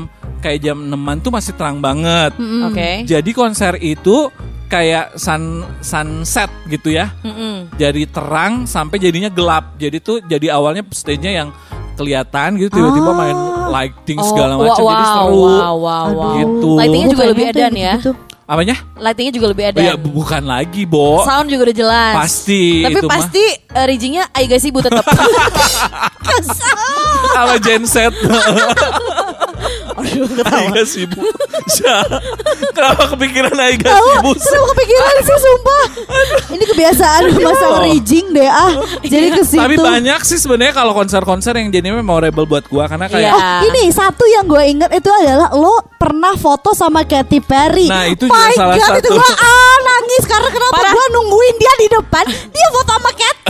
Speaker 3: kayak jam 6 tuh masih terang banget. Mm.
Speaker 5: Oke.
Speaker 3: Jadi konser itu kayak sun sunset gitu ya.
Speaker 5: Mm-mm.
Speaker 3: Dari terang sampai jadinya gelap. Jadi tuh jadi awalnya stage-nya yang kelihatan gitu tiba-tiba main lighting
Speaker 5: Oh,
Speaker 3: segala macam jadi
Speaker 5: wow,
Speaker 3: seru.
Speaker 5: Wow, wow, wow.
Speaker 3: Gitu.
Speaker 5: Lightingnya juga
Speaker 6: Gua
Speaker 5: lebih
Speaker 6: pengen tuh
Speaker 5: edan
Speaker 6: yang
Speaker 5: ya.
Speaker 6: gitu-gitu.
Speaker 3: Apanya?
Speaker 5: Lightingnya juga lebih edan.
Speaker 3: Ya bukan lagi, Bo.
Speaker 5: Sound juga udah jelas.
Speaker 3: Pasti
Speaker 5: Tapi
Speaker 3: itu mah.
Speaker 5: pasti eh, riggingnya ayo guys ibu tetap.
Speaker 3: Sama genset. Aiga Sibu. Ya. Kenapa kepikiran Aiga Sibu?
Speaker 6: Tahu, kenapa kepikiran sih sumpah. Ini kebiasaan masalah rijing deh ah. Jadi ke situ.
Speaker 3: Iya, Tapi banyak sih sebenarnya kalau konser-konser yang jadinya memorable buat gua karena kayak
Speaker 5: Iya.
Speaker 6: Oh, ini satu yang gue inget itu adalah lo pernah foto sama Katy Perry.
Speaker 3: Nah, itu juga
Speaker 6: My
Speaker 3: salah
Speaker 6: God, itu
Speaker 3: satu.
Speaker 6: gue ah, nangis karena kenapa
Speaker 5: Parah.
Speaker 6: gue nungguin dia di depan, dia foto sama Katy.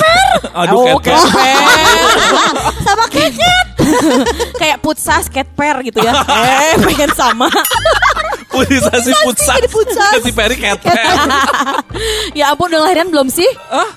Speaker 3: aduh
Speaker 5: Oh,
Speaker 3: Cat, Cat.
Speaker 6: sama Katy.
Speaker 5: Kayak futsal skate pair gitu ya. eh pengen sama.
Speaker 3: Putisasi futsal.
Speaker 6: jadi futsal.
Speaker 3: Kasih peri ketek.
Speaker 5: ya ampun udah lahiran belum sih?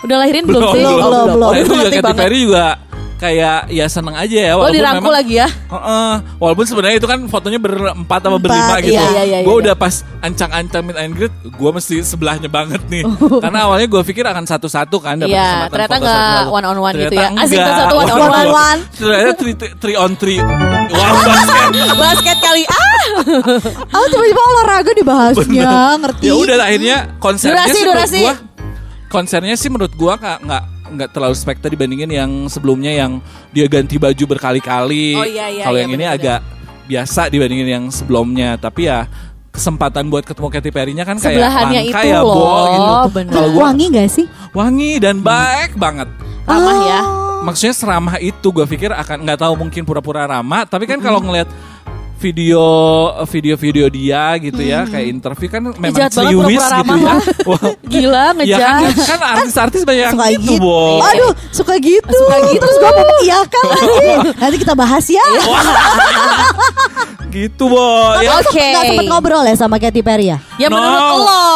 Speaker 5: Udah lahirin belum, sih?
Speaker 6: belum,
Speaker 5: Oh,
Speaker 6: belum.
Speaker 3: Nah, itu juga
Speaker 5: Ngerti
Speaker 3: Katy
Speaker 5: banget.
Speaker 3: Perry juga kayak ya seneng aja
Speaker 6: Oh,
Speaker 3: ya
Speaker 5: Lo
Speaker 3: walaupun
Speaker 5: dirangkul
Speaker 3: memang-
Speaker 5: lagi ya.
Speaker 3: Heeh. walaupun sebenarnya itu kan fotonya berempat sama
Speaker 6: Empat,
Speaker 3: berlima gitu.
Speaker 6: iya,
Speaker 5: iya, iya,
Speaker 3: gue
Speaker 5: iya.
Speaker 3: udah pas ancang-ancang meet and greet, gue mesti sebelahnya banget nih. Karena awalnya gue pikir akan satu-satu kan. dapat
Speaker 5: Oh. Iya,
Speaker 3: kesempatan
Speaker 5: ternyata
Speaker 3: foto
Speaker 5: nggak
Speaker 3: satu-satu.
Speaker 5: one on one gitu
Speaker 3: Ternyata
Speaker 5: ya. Asik,
Speaker 3: nggak.
Speaker 5: satu-satu one on one.
Speaker 6: One on one.
Speaker 3: Ternyata three, three on three. Wah, basket.
Speaker 5: Basket kali ah.
Speaker 6: Oh tiba-tiba olahraga dibahasnya, ngerti?
Speaker 3: ya udah akhirnya konsernya
Speaker 5: Durasi,
Speaker 3: sih menurut
Speaker 5: durasi.
Speaker 3: gua konsernya sih menurut gua nggak nggak nggak terlalu spekter dibandingin yang sebelumnya yang dia ganti baju berkali-kali.
Speaker 5: Oh, iya, iya,
Speaker 3: Kalau
Speaker 5: iya,
Speaker 3: yang ini
Speaker 5: benar-benar.
Speaker 3: agak biasa dibandingin yang sebelumnya, tapi ya kesempatan buat ketemu Katy Perry-nya kan kayak
Speaker 5: Sebelahannya
Speaker 3: langka
Speaker 5: itu
Speaker 3: ya, Bo,
Speaker 5: loh,
Speaker 3: gitu.
Speaker 5: benar.
Speaker 3: Kalau gua
Speaker 6: Wangi gak sih? Ah,
Speaker 3: wangi dan baik banget.
Speaker 5: Ramah ya.
Speaker 3: Maksudnya seramah itu gua pikir akan nggak tahu mungkin pura-pura ramah, tapi kan kalau ngelihat video video-video dia gitu ya kayak interview kan memang
Speaker 5: jahat banget
Speaker 3: celiwis gitu ya.
Speaker 5: pura-pura ramah.
Speaker 3: Wah,
Speaker 5: Gila
Speaker 3: Ya kan,
Speaker 5: ngejar.
Speaker 3: kan artis-artis banyak yang
Speaker 6: Suka
Speaker 3: gitu,
Speaker 6: gitu.
Speaker 5: Oh,
Speaker 3: Bo.
Speaker 5: iya.
Speaker 6: Aduh, suka gitu.
Speaker 5: Suka gitu.
Speaker 6: Terus gue ngomong iya kan nanti. Nanti kita bahas ya.
Speaker 3: Iya. Gitu, Bo. Ya,
Speaker 5: Oke.
Speaker 6: Gak sempet ngobrol ya sama Katy Perry ya?
Speaker 5: Ya
Speaker 3: No.
Speaker 5: menurut lo.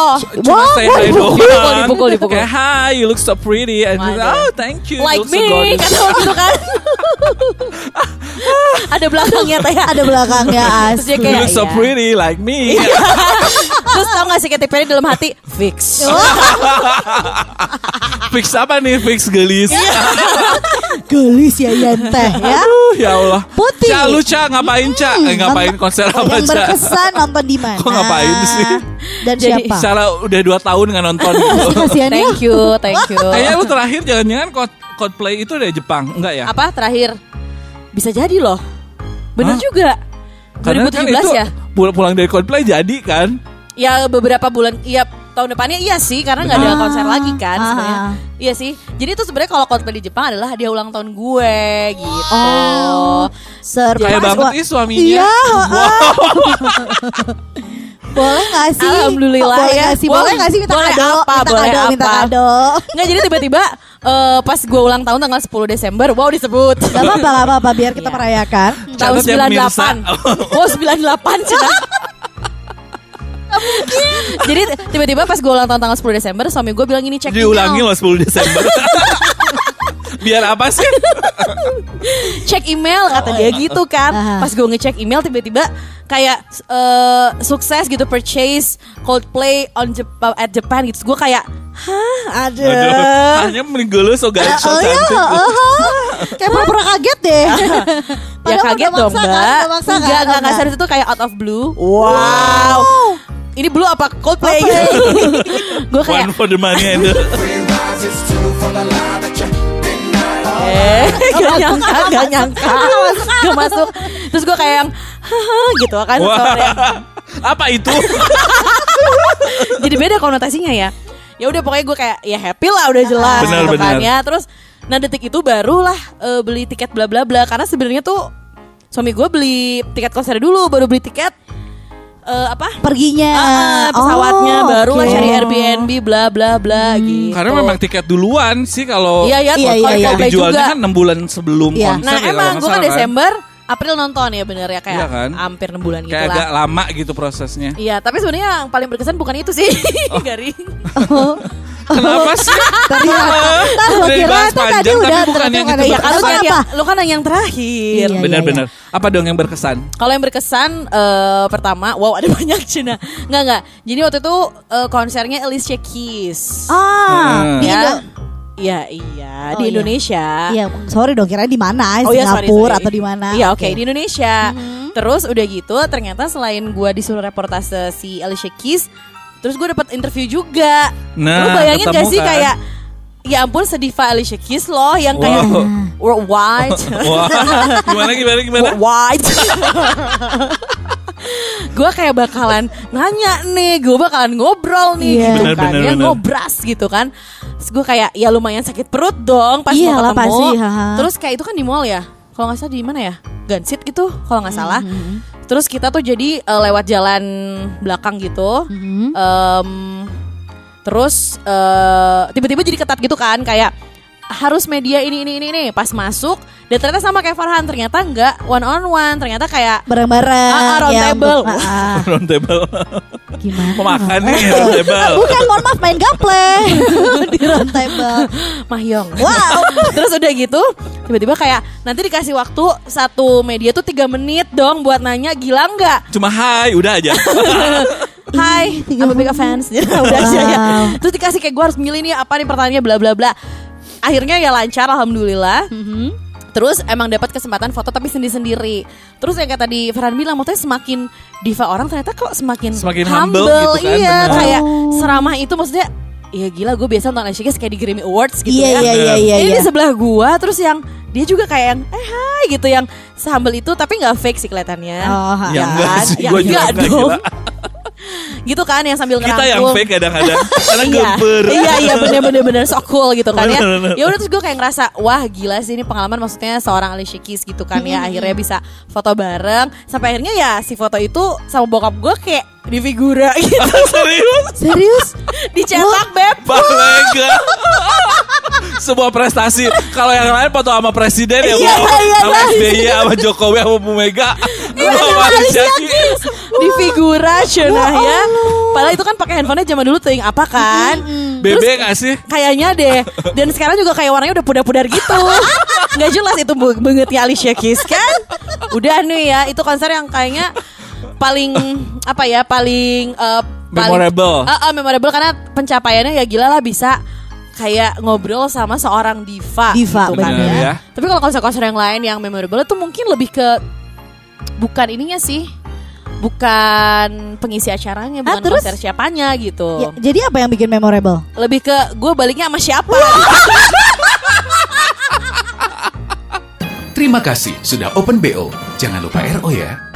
Speaker 3: cuma
Speaker 6: Wah,
Speaker 3: saya
Speaker 6: wah,
Speaker 3: saya
Speaker 6: dipukul,
Speaker 3: doang.
Speaker 5: dipukul, dipukul.
Speaker 3: Kayak, hi, you look so pretty. And
Speaker 5: Waduh.
Speaker 3: oh, thank you. you
Speaker 5: Like
Speaker 3: look so
Speaker 5: me
Speaker 3: gorgeous.
Speaker 5: kata lo gitu kan. Ada belakangnya teh.
Speaker 6: Ada belakangnya
Speaker 5: Terus dia
Speaker 6: asli.
Speaker 5: kayak
Speaker 3: You look so
Speaker 5: iya.
Speaker 3: pretty like me.
Speaker 5: Terus tau gak sih Katy Perry dalam hati Fix
Speaker 3: Oh, fix apa nih? Fix gelis.
Speaker 5: Iya.
Speaker 6: Gelis ya Yenteh ya.
Speaker 3: Aduh, ya Allah.
Speaker 6: Putih.
Speaker 3: Ca, lu Ca, ngapain Ca? Eh, ngapain
Speaker 6: Nonton-
Speaker 3: konser apa
Speaker 6: Yang
Speaker 3: Ca?
Speaker 6: berkesan nonton di mana?
Speaker 3: Kok ngapain sih?
Speaker 6: Dan
Speaker 5: Jadi-
Speaker 6: siapa?
Speaker 3: Secara udah 2 tahun nggak nonton gitu.
Speaker 6: Kasihan ya.
Speaker 5: Thank you Thank you
Speaker 3: Kayaknya lu terakhir jangan-jangan Cod- Coldplay itu dari Jepang, enggak ya?
Speaker 5: Apa terakhir Bisa jadi loh Bener
Speaker 3: Hah? kan
Speaker 5: juga 2017 ya
Speaker 3: pul- pulang dari Coldplay jadi kan?
Speaker 5: Ya beberapa bulan Iya tahun depannya iya sih Karena gak ada
Speaker 6: Betul.
Speaker 5: konser lagi kan
Speaker 6: Ah.
Speaker 5: sebenarnya Iya sih Jadi itu sebenarnya kalau konser di Jepang adalah Hadiah ulang tahun gue gitu
Speaker 6: Oh, surprise.
Speaker 3: Kayak banget
Speaker 6: Wah,
Speaker 3: ih suaminya.
Speaker 6: Iya, boleh gak sih?
Speaker 5: Alhamdulillah
Speaker 6: boleh
Speaker 5: ya.
Speaker 6: Gak sih?
Speaker 5: Wow,
Speaker 6: Boleh gak sih minta
Speaker 5: boleh
Speaker 6: kado?
Speaker 5: apa,
Speaker 6: minta
Speaker 5: boleh
Speaker 6: kado, minta
Speaker 5: apa.
Speaker 6: kado.
Speaker 5: Nggak jadi tiba-tiba eh, Pas gue ulang tahun tanggal 10 Desember Wow disebut
Speaker 6: Gak apa-apa, gak apa-apa. Biar kita
Speaker 5: Iya.
Speaker 6: merayakan.
Speaker 5: Tahun
Speaker 3: Catat ya,
Speaker 5: 98 Oh 98 Cina Jadi tiba-tiba pas gue ulang tahun tanggal 10 Desember Suami gue bilang gini cek
Speaker 3: Diulangi loh
Speaker 5: email
Speaker 3: 10 Desember. Biar apa sih?
Speaker 5: Cek email kata dia gitu kan
Speaker 6: Aha.
Speaker 5: Pas gue ngecek email tiba-tiba Kayak eh, sukses gitu purchase Coldplay on Jep- at Japan gitu Gue kayak Hah
Speaker 3: Aduh,
Speaker 5: ada
Speaker 3: Hanya menggulu so
Speaker 6: Eh,
Speaker 3: gacho
Speaker 6: Ya. oh iya,
Speaker 3: cantik.
Speaker 6: oh, oh. kayak pura-pura kaget deh.
Speaker 5: Ya
Speaker 6: Padahal
Speaker 5: kaget
Speaker 6: udah
Speaker 5: dong
Speaker 6: maksa
Speaker 5: mbak
Speaker 6: kan, udah Oh, maksa kan,
Speaker 5: Enggak, enggak, enggak
Speaker 6: enggak.
Speaker 5: serius itu kayak out of blue Wow Ini blue apa Coldplay? gue
Speaker 6: iya.
Speaker 5: kayak
Speaker 3: One for the money and the...
Speaker 5: Eh, gak nyangka, gak nyangka Gak masuk Terus gue kayak yang "Haha," gitu kan
Speaker 3: Wah,
Speaker 5: sorry.
Speaker 3: apa itu?
Speaker 6: Gitu.
Speaker 5: Jadi beda konotasinya ya Ya udah pokoknya gue kayak ya happy lah udah jelas
Speaker 3: Benar,
Speaker 5: gitu kan
Speaker 3: benar.
Speaker 5: ya Terus nah detik itu barulah eh, beli tiket bla bla bla Karena sebenarnya tuh suami gue beli tiket konser dulu Baru beli tiket eh, apa?
Speaker 6: Perginya.
Speaker 5: Ah, pesawatnya
Speaker 6: Ya. Oh,
Speaker 5: baru lah
Speaker 6: oke. Hmm.
Speaker 5: cari Airbnb bla bla bla gitu.
Speaker 3: Karena memang tiket duluan sih kalau
Speaker 5: Iya, iya,
Speaker 6: Iya,
Speaker 3: Kan
Speaker 6: iya,
Speaker 3: kayak
Speaker 6: iya.
Speaker 3: dijualnya kan 6 bulan sebelum
Speaker 6: Iya.
Speaker 3: konser
Speaker 5: Nah
Speaker 3: ya, kalau
Speaker 5: emang
Speaker 3: nggak
Speaker 5: gue kan
Speaker 3: salah
Speaker 5: Desember, April nonton ya bener ya kayak
Speaker 3: Iya kan?
Speaker 5: hampir 6 bulan gitu
Speaker 3: Kayak
Speaker 5: lah.
Speaker 3: agak lama gitu prosesnya.
Speaker 5: Iya tapi sebenarnya yang paling berkesan bukan itu sih
Speaker 3: Oh.
Speaker 5: Garing.
Speaker 3: Kenapa sih?
Speaker 6: Tadi Oh. Ntar gua
Speaker 3: Udah
Speaker 6: kira
Speaker 3: dibahas
Speaker 6: itu tadi
Speaker 3: panjang, tapi
Speaker 6: udah
Speaker 3: bukan
Speaker 6: ternyata
Speaker 3: yang
Speaker 6: nggak
Speaker 3: itu
Speaker 6: ada-
Speaker 5: Iya kan lu kan,
Speaker 6: Apa?
Speaker 5: yang, lu kan yang terakhir.
Speaker 6: Iya, iya,
Speaker 3: Benar-benar. Apa dong yang berkesan?
Speaker 5: Kalau yang berkesan eh, pertama, wow ada banyak Cina. Nggak nggak. Jadi waktu itu eh, konsernya Alicia Keys.
Speaker 6: Ah,
Speaker 3: Heeh.
Speaker 6: di
Speaker 5: Ya.
Speaker 6: Indo-
Speaker 5: Iya iya
Speaker 6: Oh, iya.
Speaker 5: di Indonesia.
Speaker 6: Iya, sorry dong kira di mana?
Speaker 5: iya, sorry,
Speaker 6: Singapura
Speaker 5: sorry.
Speaker 6: atau di mana? Mm-hmm.
Speaker 5: Iya, oke di Indonesia. Terus udah gitu, ternyata selain gua disuruh reportase si Alicia Keys, terus gue dapat interview juga.
Speaker 3: Nah,
Speaker 5: Lu bayangin gak
Speaker 3: ketemu
Speaker 5: sih
Speaker 3: kan?
Speaker 5: kayak ya ampun sediva Alicia Keys loh yang kayak
Speaker 3: Wow.
Speaker 5: worldwide.
Speaker 3: Wah, gimana gimana gimana?
Speaker 5: Worldwide. gue kayak bakalan nanya nih, gue bakalan ngobrol
Speaker 6: Iya.
Speaker 5: nih gitu
Speaker 3: Bener,
Speaker 5: kan,
Speaker 3: bener,
Speaker 5: ya
Speaker 3: bener.
Speaker 5: ngobras gitu kan. Terus gue kayak ya lumayan sakit perut dong pas
Speaker 6: Iyalah,
Speaker 5: mau ketemu.
Speaker 6: Iya pasti, haha.
Speaker 5: Terus kayak itu kan di mall ya, kalau nggak salah di mana ya, Gansit gitu kalau nggak salah.
Speaker 6: Mm-hmm.
Speaker 5: Terus kita tuh jadi eh, lewat jalan belakang gitu.
Speaker 6: Mm-hmm.
Speaker 5: Em, terus eh, tiba-tiba jadi ketat gitu kan, kayak harus media ini ini ini ini pas masuk dan ternyata sama kayak Farhan ternyata enggak one on one ternyata kayak
Speaker 6: bareng-bareng
Speaker 5: Ah, ah, round
Speaker 6: ya,
Speaker 5: table.
Speaker 6: bu- ah, ah.
Speaker 3: Round table.
Speaker 6: gimana
Speaker 3: Mau makan nih round table.
Speaker 6: bukan mohon maaf main gaple di round table
Speaker 5: Mahyong. Wow. ya Terus udah gitu, tiba-tiba kayak nanti dikasih waktu satu media tuh tiga menit dong buat nanya gila nggak?
Speaker 3: Cuma hai, udah aja.
Speaker 5: Hai,
Speaker 6: tiga
Speaker 5: I'm a big
Speaker 6: menit.
Speaker 5: fans. udah aja ya.
Speaker 6: Iya. Wow.
Speaker 5: Terus dikasih kayak gue harus milih nih apa nih pertanyaannya bla bla bla. Akhirnya ya lancar alhamdulillah.
Speaker 6: Mm-hmm.
Speaker 5: Terus emang dapat kesempatan foto tapi sendiri-sendiri. Terus yang kayak tadi Farhan bilang, maksudnya semakin diva orang ternyata kok semakin,
Speaker 3: Semakin humble gitu kan,
Speaker 5: Iya,
Speaker 3: bener.
Speaker 5: kayak
Speaker 6: Oh.
Speaker 5: seramah itu maksudnya Iya gila gue biasa nonton Asia Guys kayak di Grammy Awards gitu
Speaker 6: iya
Speaker 5: ya
Speaker 6: iya iya iya
Speaker 5: ini
Speaker 6: iya.
Speaker 5: di sebelah gua terus yang dia juga kayak yang eh hai gitu yang sehambel itu tapi nggak fake sih kelihatannya.
Speaker 6: Oh, ha.
Speaker 3: Ya enggak sih,
Speaker 5: Ya
Speaker 3: gua juga
Speaker 5: enggak
Speaker 3: enggak,
Speaker 5: dong.
Speaker 3: gila.
Speaker 5: gitu kan yang sambil
Speaker 3: Kita yang
Speaker 5: ngerangkul.
Speaker 3: fake kadang-kadang. Karena
Speaker 5: Iya.
Speaker 3: geber.
Speaker 5: Iya iya bener bener bener sok cool gitu kan ya.
Speaker 3: Bener, bener.
Speaker 5: Ya udah terus gue kayak ngerasa wah gila sih ini pengalaman maksudnya seorang Alicia Keys gitu kan
Speaker 3: Mm-hmm.
Speaker 5: ya akhirnya bisa foto bareng sampai akhirnya ya si foto itu sama bokap gue kayak di figura gitu
Speaker 3: Serius?
Speaker 6: serius
Speaker 5: dicetak beb.
Speaker 3: Pak Lega. Sebuah prestasi. Kalau yang lain foto sama presiden ya, Bu.
Speaker 5: Iya, iya,
Speaker 3: sama
Speaker 5: iya.
Speaker 3: SBY, sama Jokowi, sama Bu Mega.
Speaker 5: Iya,
Speaker 3: Sama
Speaker 5: sama
Speaker 3: Alicia
Speaker 5: Alicia
Speaker 3: Keys.
Speaker 5: Keys. di figura cenah ya. Padahal itu kan pakai handphonenya zaman dulu ting apa kan?
Speaker 3: Bebe nggak sih?
Speaker 5: Kayaknya deh. Dan sekarang juga kayak warnanya udah pudar-pudar gitu. Nggak jelas itu bu- bengetnya Alicia Keys kan? Udah nih ya, itu konser yang kayaknya paling apa ya paling eh, paling-
Speaker 3: Memorable.
Speaker 5: Eh, eh, memorable karena pencapaiannya ya gila lah bisa kayak ngobrol sama seorang diva.
Speaker 6: Diva,
Speaker 5: gitu kan
Speaker 3: bener
Speaker 5: ya.
Speaker 3: ya.
Speaker 5: Tapi kalau konser-konser yang lain yang memorable itu mungkin lebih ke bukan ininya sih. Bukan pengisi acaranya,
Speaker 6: Ah,
Speaker 5: bukan
Speaker 6: terus?
Speaker 5: konser siapanya gitu
Speaker 6: Ya, jadi apa yang bikin memorable
Speaker 5: lebih ke gue baliknya sama siapa
Speaker 4: Terima kasih sudah open BO. Jangan lupa RO ya.